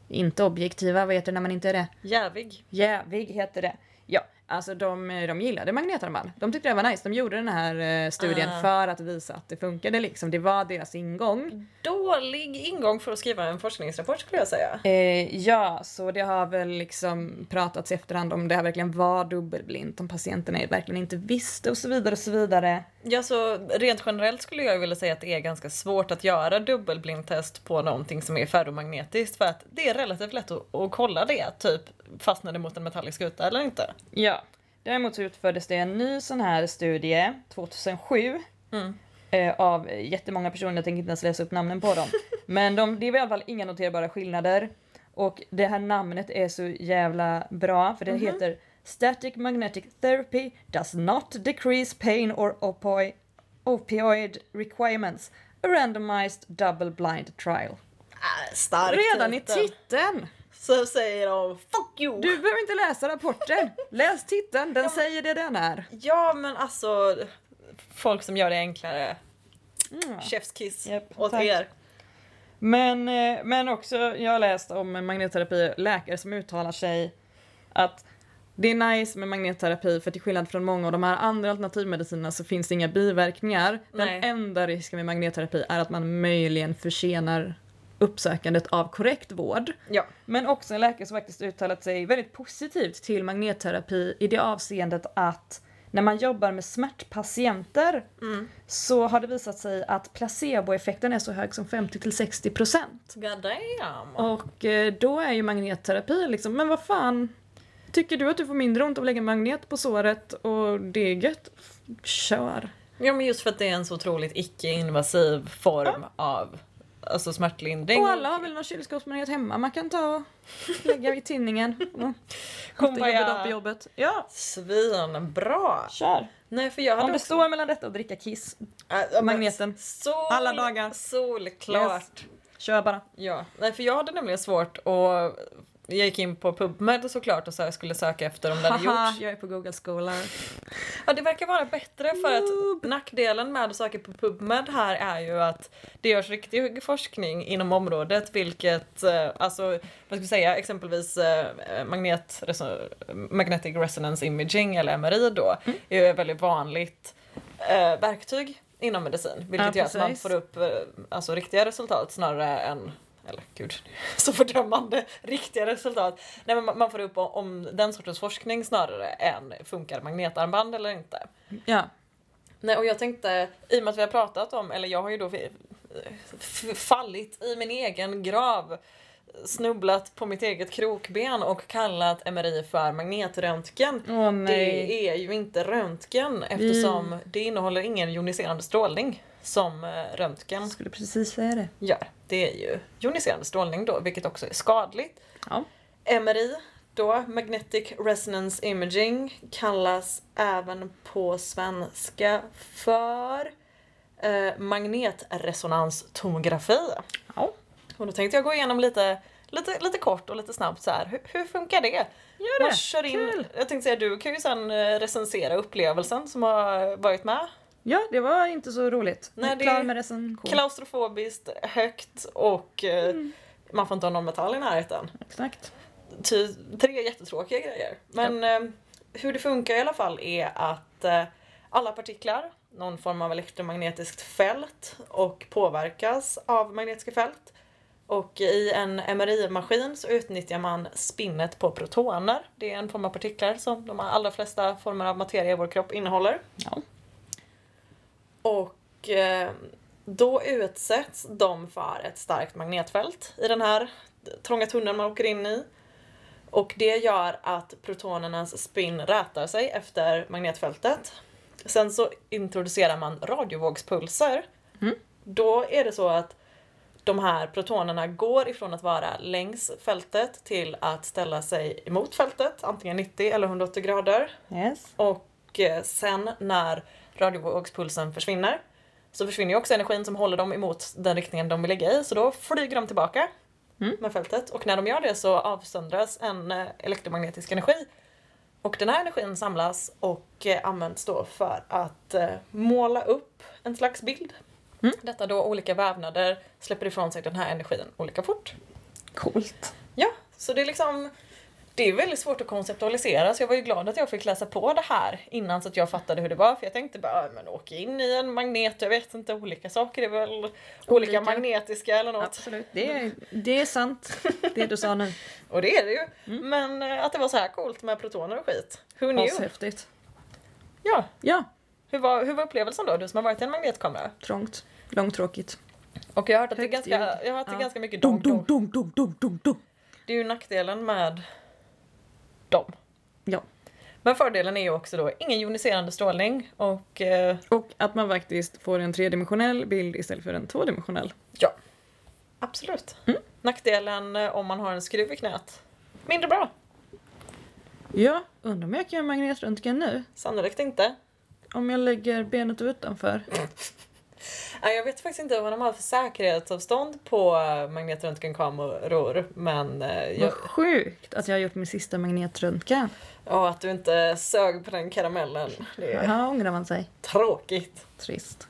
Speaker 1: inte objektiva, vad heter det när man inte är det?
Speaker 2: Jävig.
Speaker 1: Jävig heter det. Ja, alltså de, de gillade magnetarmband. De tyckte det var nice. De gjorde den här eh, studien
Speaker 2: Ah.
Speaker 1: för att visa att det funkade liksom. Det var deras ingång.
Speaker 2: Dålig ingång för att skriva en forskningsrapport skulle jag säga.
Speaker 1: Eh, ja, så det har väl liksom pratats i efterhand om det här verkligen var dubbelblint, om patienterna verkligen inte visste och så vidare och så vidare.
Speaker 2: Ja, så rent generellt skulle jag vilja säga att det är ganska svårt att göra dubbelblindtest på någonting som är ferromagnetiskt för att det är relativt lätt att, att kolla det, typ fastnar det mot en metallisk skuta eller inte.
Speaker 1: Ja. Däremot så utfördes det en ny sån här studie 2007
Speaker 2: Mm.
Speaker 1: eh, av jättemånga personer, jag tänker inte ens läsa upp namnen på dem. Men de, det är i alla fall inga noterbara skillnader. Och det här namnet är så jävla bra för det heter Static Magnetic Therapy does not decrease pain or opoi- opioid requirements. A randomized double blind trial.
Speaker 2: Äh, stark
Speaker 1: Redan i
Speaker 2: titel.
Speaker 1: titeln!
Speaker 2: Så säger de FUCK YOU!
Speaker 1: Du behöver inte läsa rapporten. Läs titeln, den säger det den är.
Speaker 2: Ja men alltså, folk som gör det enklare.
Speaker 1: Mm.
Speaker 2: Chefskiss
Speaker 1: Japp,
Speaker 2: åt
Speaker 1: tack.
Speaker 2: er.
Speaker 1: Men, eh, men också, jag har läst om magnetterapi, läkare som uttalar sig att det är nice med magnetterapi för till skillnad från många av de här andra alternativmedicinerna så finns det inga biverkningar.
Speaker 2: Nej.
Speaker 1: Den enda risken med magnetterapi är att man möjligen försenar uppsökandet av korrekt vård.
Speaker 2: Ja.
Speaker 1: Men också en läkare som faktiskt uttalat sig väldigt positivt till magnetterapi i det avseendet att när man jobbar med smärtpatienter så har det visat sig att placeboeffekten är så hög som 50-60%.
Speaker 2: God damn.
Speaker 1: Och eh, då är ju magnetterapi liksom, men vad fan. Tycker du att du får mindre ont av att lägga en magnet på såret och det är gött? F- Kör.
Speaker 2: Ja men just för att det är en så otroligt icke-invasiv form av alltså, smärtlindring.
Speaker 1: Och alla har väl någon kylskåpsmagnet hemma man kan ta och lägga i tinningen. Mm.
Speaker 2: Kumbaya.
Speaker 1: Jobbig dag på jobbet. Ja,
Speaker 2: Svinbra!
Speaker 1: kör.
Speaker 2: Nej för jag
Speaker 1: Om
Speaker 2: hade
Speaker 1: det står mellan detta och dricka kiss,
Speaker 2: Äh, men
Speaker 1: magneten.
Speaker 2: Sol,
Speaker 1: Alla dagar.
Speaker 2: Solklart.
Speaker 1: Yes. kör bara.
Speaker 2: Ja, nej för jag hade nämligen svårt och jag gick in på PubMed såklart och så här skulle söka efter om det hade
Speaker 1: Haha,
Speaker 2: gjorts.
Speaker 1: jag är på Google Scholar.
Speaker 2: Ja, det verkar vara bättre för att nackdelen med att söka på PubMed här är ju att det görs riktig forskning inom området vilket, eh, alltså vad ska vi säga, exempelvis eh, magnet, reso- magnetic resonance imaging eller MRI då
Speaker 1: Mm.
Speaker 2: är ju ett väldigt vanligt eh, verktyg inom medicin vilket
Speaker 1: Ja,
Speaker 2: gör att man
Speaker 1: precis.
Speaker 2: får upp eh, alltså, riktiga resultat snarare än eller gud, så fördömande riktiga resultat. Nej, men man- man får upp o- om den sortens forskning snarare än funkar magnetarmband eller inte.
Speaker 1: Ja.
Speaker 2: Nej, och jag tänkte, i och med att vi har pratat om, eller jag har ju då f- f- fallit i min egen grav, snubblat på mitt eget krokben och kallat MRI för magnetröntgen.
Speaker 1: Åh nej.
Speaker 2: Det är ju inte röntgen eftersom det innehåller ingen joniserande strålning som eh, röntgen
Speaker 1: Jag skulle precis säga det.
Speaker 2: gör. Det är ju joniserande strålning då, vilket också är skadligt.
Speaker 1: Ja.
Speaker 2: MRI då, Magnetic Resonance Imaging, kallas även på svenska för eh, magnetresonanstomografi.
Speaker 1: ja.
Speaker 2: Och då tänkte jag gå igenom lite, lite, lite kort och lite snabbt så här. Hur, hur funkar det?
Speaker 1: Gör
Speaker 2: Man
Speaker 1: det.
Speaker 2: kör in,
Speaker 1: Kul.
Speaker 2: Jag tänkte säga, du kan ju sen eh, recensera upplevelsen som har varit med.
Speaker 1: Ja, det var inte så roligt.
Speaker 2: Nej,
Speaker 1: Nej,
Speaker 2: det-
Speaker 1: Klar med recension.
Speaker 2: Klaustrofobiskt, högt och eh,
Speaker 1: Mm.
Speaker 2: man får inte ha någon metall i närheten.
Speaker 1: Exakt.
Speaker 2: ty, tre jättetråkiga grejer. Men eh, hur det funkar i alla fall är att eh, alla partiklar, någon form av elektromagnetiskt fält och påverkas av magnetiska fält. Och i en MRI-maskin så utnyttjar man spinnet på protoner. Det är en form av partiklar som de allra flesta former av materia i vår kropp innehåller.
Speaker 1: Ja.
Speaker 2: Och eh, då utsätts de för ett starkt magnetfält i den här trånga tunneln man åker in i. Och det gör att protonernas spinn rätar sig efter magnetfältet. Sen så introducerar man radiovågspulser.
Speaker 1: Mm.
Speaker 2: Då är det så att de här protonerna går ifrån att vara längs fältet till att ställa sig emot fältet, antingen 90 eller 180 grader.
Speaker 1: Yes.
Speaker 2: Och eh, sen när radiovågspulsen försvinner så försvinner ju också energin som håller dem emot den riktningen de vill ligga i. Så då flyger de tillbaka
Speaker 1: Mm.
Speaker 2: med fältet. Och när de gör det så avsöndras en eh, elektromagnetisk energi. Och den här energin samlas och eh, används då för att eh, måla upp en slags bild.
Speaker 1: Mm.
Speaker 2: Detta då olika vävnader släpper ifrån sig den här energin olika fort.
Speaker 1: Coolt.
Speaker 2: Ja, så det är liksom det är väldigt svårt att konceptualisera så jag var ju glad att jag fick läsa på det här innan så att jag fattade hur det var för jag tänkte bara "Ah, men åk in i en magnet, jag vet inte, olika saker är väl olika,
Speaker 1: Olika.
Speaker 2: magnetiska eller något.
Speaker 1: Absolut. Det är, det är sant. Det du sa nu.
Speaker 2: Och det är det ju. Men eh, att det var så här coolt med protoner och skit. Who knew?
Speaker 1: Ashäftigt.
Speaker 2: Ja,
Speaker 1: Ja.
Speaker 2: hur var, hur var upplevelsen då? Du som har varit i en magnetkamera.
Speaker 1: Trångt. Långtråkigt.
Speaker 2: Och jag har hört att det är
Speaker 1: Högt
Speaker 2: ganska,
Speaker 1: ljud.
Speaker 2: jag har hört att det är
Speaker 1: Ja.
Speaker 2: ganska mycket
Speaker 1: Dum,
Speaker 2: dong,
Speaker 1: dum,
Speaker 2: dong.
Speaker 1: dum, dum, dum, dum, dum.
Speaker 2: Det är ju nackdelen med dem.
Speaker 1: Ja.
Speaker 2: Men fördelen är ju också då ingen joniserande strålning och eh,
Speaker 1: Och att man faktiskt får en tredimensionell bild istället för en tvådimensionell.
Speaker 2: Ja. Absolut. Nackdelen eh, om man har en skruv i knät. Mindre bra.
Speaker 1: Ja, undrar om jag kan göra magnetröntgen nu?
Speaker 2: Sannolikt inte.
Speaker 1: Om jag lägger benet utanför?
Speaker 2: Nej, Jag vet faktiskt inte vad de har för säkerhetsavstånd på eh, magnetröntgenkameror. Men eh, jag,
Speaker 1: Vad sjukt att jag har gjort min sista magnetröntgen.
Speaker 2: ja, att du inte sög på den karamellen. Det är
Speaker 1: Här ångrar man sig.
Speaker 2: tråkigt.
Speaker 1: Trist.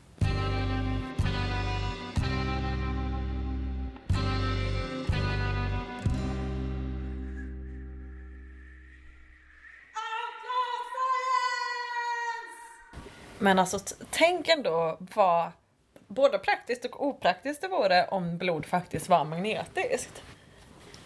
Speaker 2: Men alltså t- tänk ändå vad både praktiskt och opraktiskt det vore om blod faktiskt var magnetiskt.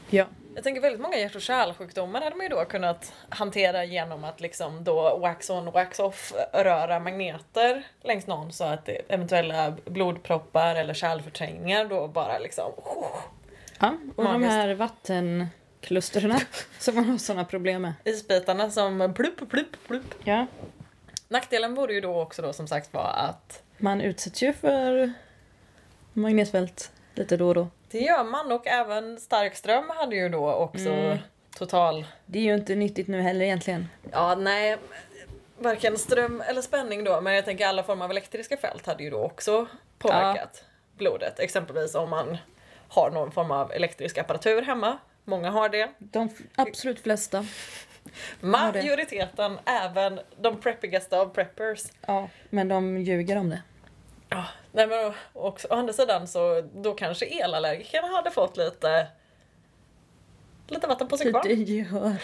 Speaker 1: Ja.
Speaker 2: Jag tänker väldigt många hjärt och kärlsjukdomar hade man ju då kunnat hantera genom att liksom då wax on wax off röra magneter längs någon så att det- eventuella blodproppar eller kärlförträngningar då bara liksom oh,
Speaker 1: ja. Och de
Speaker 2: Magiskt.
Speaker 1: här vattenklusterna som man har sådana problem med.
Speaker 2: isbitarna som plupp plupp plupp.
Speaker 1: Ja.
Speaker 2: Nackdelen vore ju då också då som sagt var att
Speaker 1: Man utsätts ju för magnetfält lite då och då.
Speaker 2: det gör man och även starkström hade ju då också
Speaker 1: Mm.
Speaker 2: total
Speaker 1: Det är ju inte nyttigt nu heller egentligen.
Speaker 2: Ja, nej. Varken ström eller spänning då, men jag tänker alla former av elektriska fält hade ju då också påverkat blodet. Exempelvis om man har någon form av elektrisk apparatur hemma. Många har det.
Speaker 1: De f- absolut flesta. Har det.
Speaker 2: Majoriteten, även de preppigaste av preppers.
Speaker 1: Ja. Men de ljuger om det.
Speaker 2: Ja, nej men och- också, å andra sidan så då kanske elallergikerna hade fått lite lite vatten på sin kvarn.
Speaker 1: Lite Typ gehör.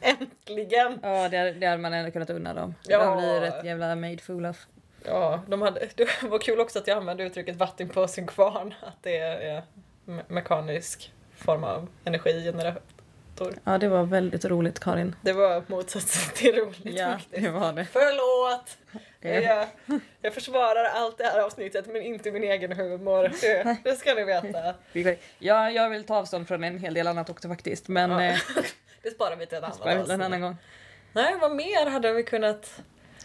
Speaker 2: Äntligen!
Speaker 1: Ja, det, hade- det hade man ändå kunnat unna dem.
Speaker 2: Ja.
Speaker 1: De blir ju rätt jävla made fool of.
Speaker 2: Ja, de hade, det var kul också att jag använde uttrycket vatten på sin kvarn. Att det är me- mekanisk form av energigenerator.
Speaker 1: Ja, det var väldigt roligt Karin.
Speaker 2: Det var motsatsen till roligt faktiskt.
Speaker 1: det var det.
Speaker 2: Förlåt!
Speaker 1: Det-
Speaker 2: Jag, jag försvarar allt det här avsnittet men inte min egen humor. Det, det ska ni veta.
Speaker 1: Ja, jag vill ta avstånd från en hel del annat också faktiskt. Men
Speaker 2: Ja.
Speaker 1: eh,
Speaker 2: Det sparar vi till ett annat
Speaker 1: sparar vi till en
Speaker 2: avsnitt.
Speaker 1: annan gång.
Speaker 2: Nej, vad mer hade vi kunnat...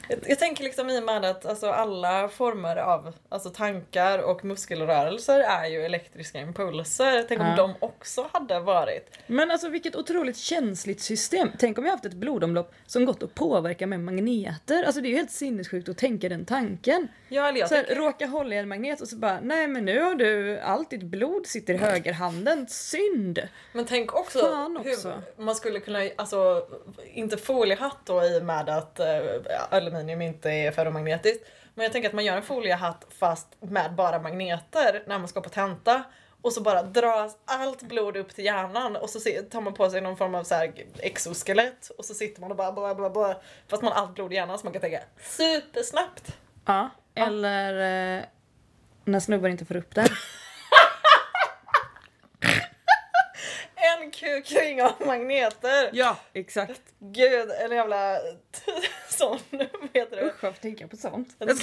Speaker 2: Jag, jag tänker liksom i och med att alltså, alla former av alltså, tankar och muskelrörelser är ju elektriska impulser. Tänk om
Speaker 1: Ja.
Speaker 2: de också hade varit.
Speaker 1: Men alltså vilket otroligt känsligt system. Tänk om jag haft ett blodomlopp som gått att påverka med magneter. Alltså det är ju helt sinnessjukt att tänka den tanken.
Speaker 2: Ja, eller jag
Speaker 1: Så här,
Speaker 2: tänker-
Speaker 1: råka hålla i en magnet och så bara nej men nu har du allt ditt blod sitter i högerhanden. Synd!
Speaker 2: men tänk också,
Speaker 1: Fan också.
Speaker 2: hur man skulle kunna, alltså inte foliehatt då i och med att eh, aluminium inte är ferromagnetiskt. Men jag tänker att man gör en foliehatt fast med bara magneter när man ska på tenta. Och så bara dras allt blod upp till hjärnan och så se- tar man på sig någon form av så här exoskelett och så sitter man och bara bla bla bla. Fast man har allt blod i hjärnan så man kan tänka supersnabbt.
Speaker 1: Ja, eller eh, när snubbar inte får upp det.
Speaker 2: En kuk ring av magneter.
Speaker 1: ja, exakt.
Speaker 2: Gud, en jävla sån, vad heter det?
Speaker 1: Usch, varför tänker jag på sånt?
Speaker 2: Nej,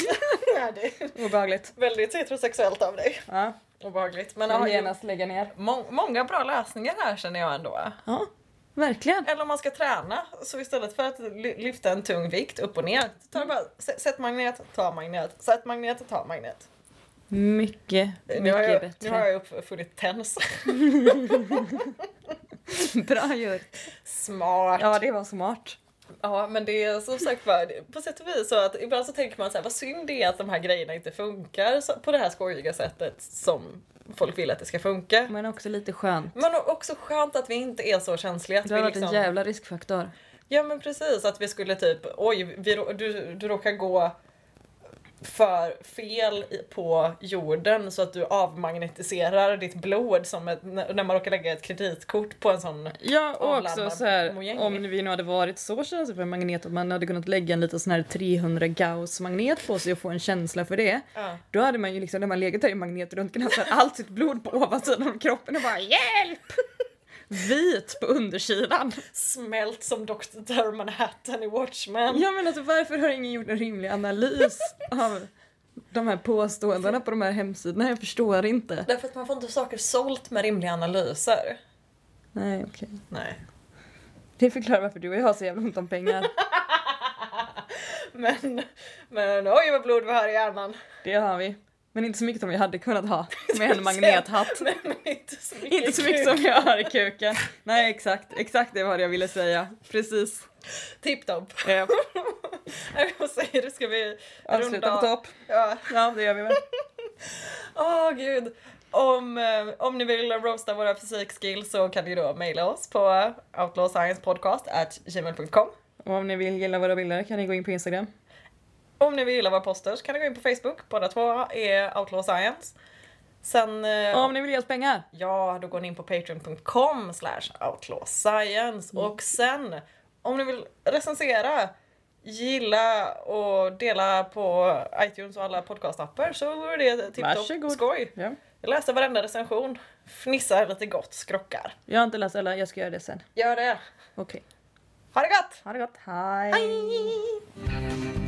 Speaker 2: det är
Speaker 1: Obehagligt.
Speaker 2: väldigt heterosexuellt av dig.
Speaker 1: Ja,
Speaker 2: Obehagligt. Men
Speaker 1: jag
Speaker 2: ja,
Speaker 1: vill
Speaker 2: ju-
Speaker 1: genast lägga ner.
Speaker 2: må- många bra lösningar här känner jag ändå.
Speaker 1: Ja, verkligen.
Speaker 2: Eller om man ska träna, så istället för att ly- lyfta en tung vikt upp och ner, ta
Speaker 1: Mm.
Speaker 2: det bara, s- sätt magnet, ta magnet, sätt magnet, ta magnet.
Speaker 1: Mycket,
Speaker 2: Nu har jag,
Speaker 1: mycket
Speaker 2: nu har
Speaker 1: bättre.
Speaker 2: jag uppfunnit TENS.
Speaker 1: Bra gjort.
Speaker 2: Smart!
Speaker 1: Ja, det var smart.
Speaker 2: Ja men det är som sagt var, på sätt och vis så att ibland så tänker man så här, vad synd det är att de här grejerna inte funkar så, på det här skojiga sättet som folk vill att det ska funka.
Speaker 1: Men också lite skönt.
Speaker 2: Men också skönt att vi inte är så känsliga. Att
Speaker 1: Det har
Speaker 2: vi
Speaker 1: varit en
Speaker 2: liksom,
Speaker 1: jävla riskfaktor.
Speaker 2: Ja men precis, att vi skulle typ, oj vi, rå- du, du råkar gå för fel i- på jorden så att du avmagnetiserar ditt blod som ett, när när man råkar lägga ett kreditkort på en sån
Speaker 1: Ja, och
Speaker 2: Avladdad
Speaker 1: också så här,
Speaker 2: mojäng.
Speaker 1: om vi nu hade varit så känsliga för magnet att man hade kunnat lägga en liten sån här 300 gauss-magnet på sig och få en känsla för det.
Speaker 2: ja.
Speaker 1: Då hade man ju liksom, när man legat där i magnetröntgen, haft så här allt sitt blod på ovansidan av kroppen och bara HJÄLP! Vit på undersidan.
Speaker 2: smält som Dr. Manhattan i Watchmen.
Speaker 1: Ja men alltså varför har ingen gjort en rimlig analys av de här påståendena på de här hemsidorna? Jag förstår inte.
Speaker 2: Därför att man får inte saker sålt med rimliga analyser.
Speaker 1: Nej okej.
Speaker 2: Nej.
Speaker 1: Det förklarar varför du och jag har så jävla ont om pengar.
Speaker 2: Men, men oj vad blod vi har i hjärnan.
Speaker 1: Det har vi. Men inte så mycket som vi hade kunnat ha med en magnethatt.
Speaker 2: Nej, men inte så mycket.
Speaker 1: Inte så mycket som jag har i kuken. Nej exakt, exakt det var det jag ville säga. Precis.
Speaker 2: Tipptopp.
Speaker 1: Eh,
Speaker 2: Nej, Vad säger du, ska vi
Speaker 1: Avsluta på
Speaker 2: runda av?
Speaker 1: topp.
Speaker 2: Ja.
Speaker 1: Ja det gör vi väl.
Speaker 2: Åh gud. Om, eh, om ni vill roasta våra fysikskills så kan ni då mejla oss på outlawsciencepodcast.gmail.com
Speaker 1: Och om ni vill gilla våra bilder kan ni gå in på Instagram.
Speaker 2: Om ni vill gilla våra posters kan ni gå in på Facebook, båda två är Outlaw Science. Sen... eh,
Speaker 1: Och om ni vill ge oss pengar.
Speaker 2: Ja, då går ni in på patreon.com
Speaker 1: Mm.
Speaker 2: slash outlawscience och sen om ni vill recensera gilla och dela på iTunes och alla podcastappar så vore det tipptopp
Speaker 1: Varsågod.
Speaker 2: skoj.
Speaker 1: Ja.
Speaker 2: Jag läser varenda recension, fnissar lite gott, skrockar.
Speaker 1: Jag har inte läst alla, jag ska göra det sen.
Speaker 2: Gör det!
Speaker 1: Okej.
Speaker 2: Ha det gott!
Speaker 1: Ha det gott, hej!
Speaker 2: Hej!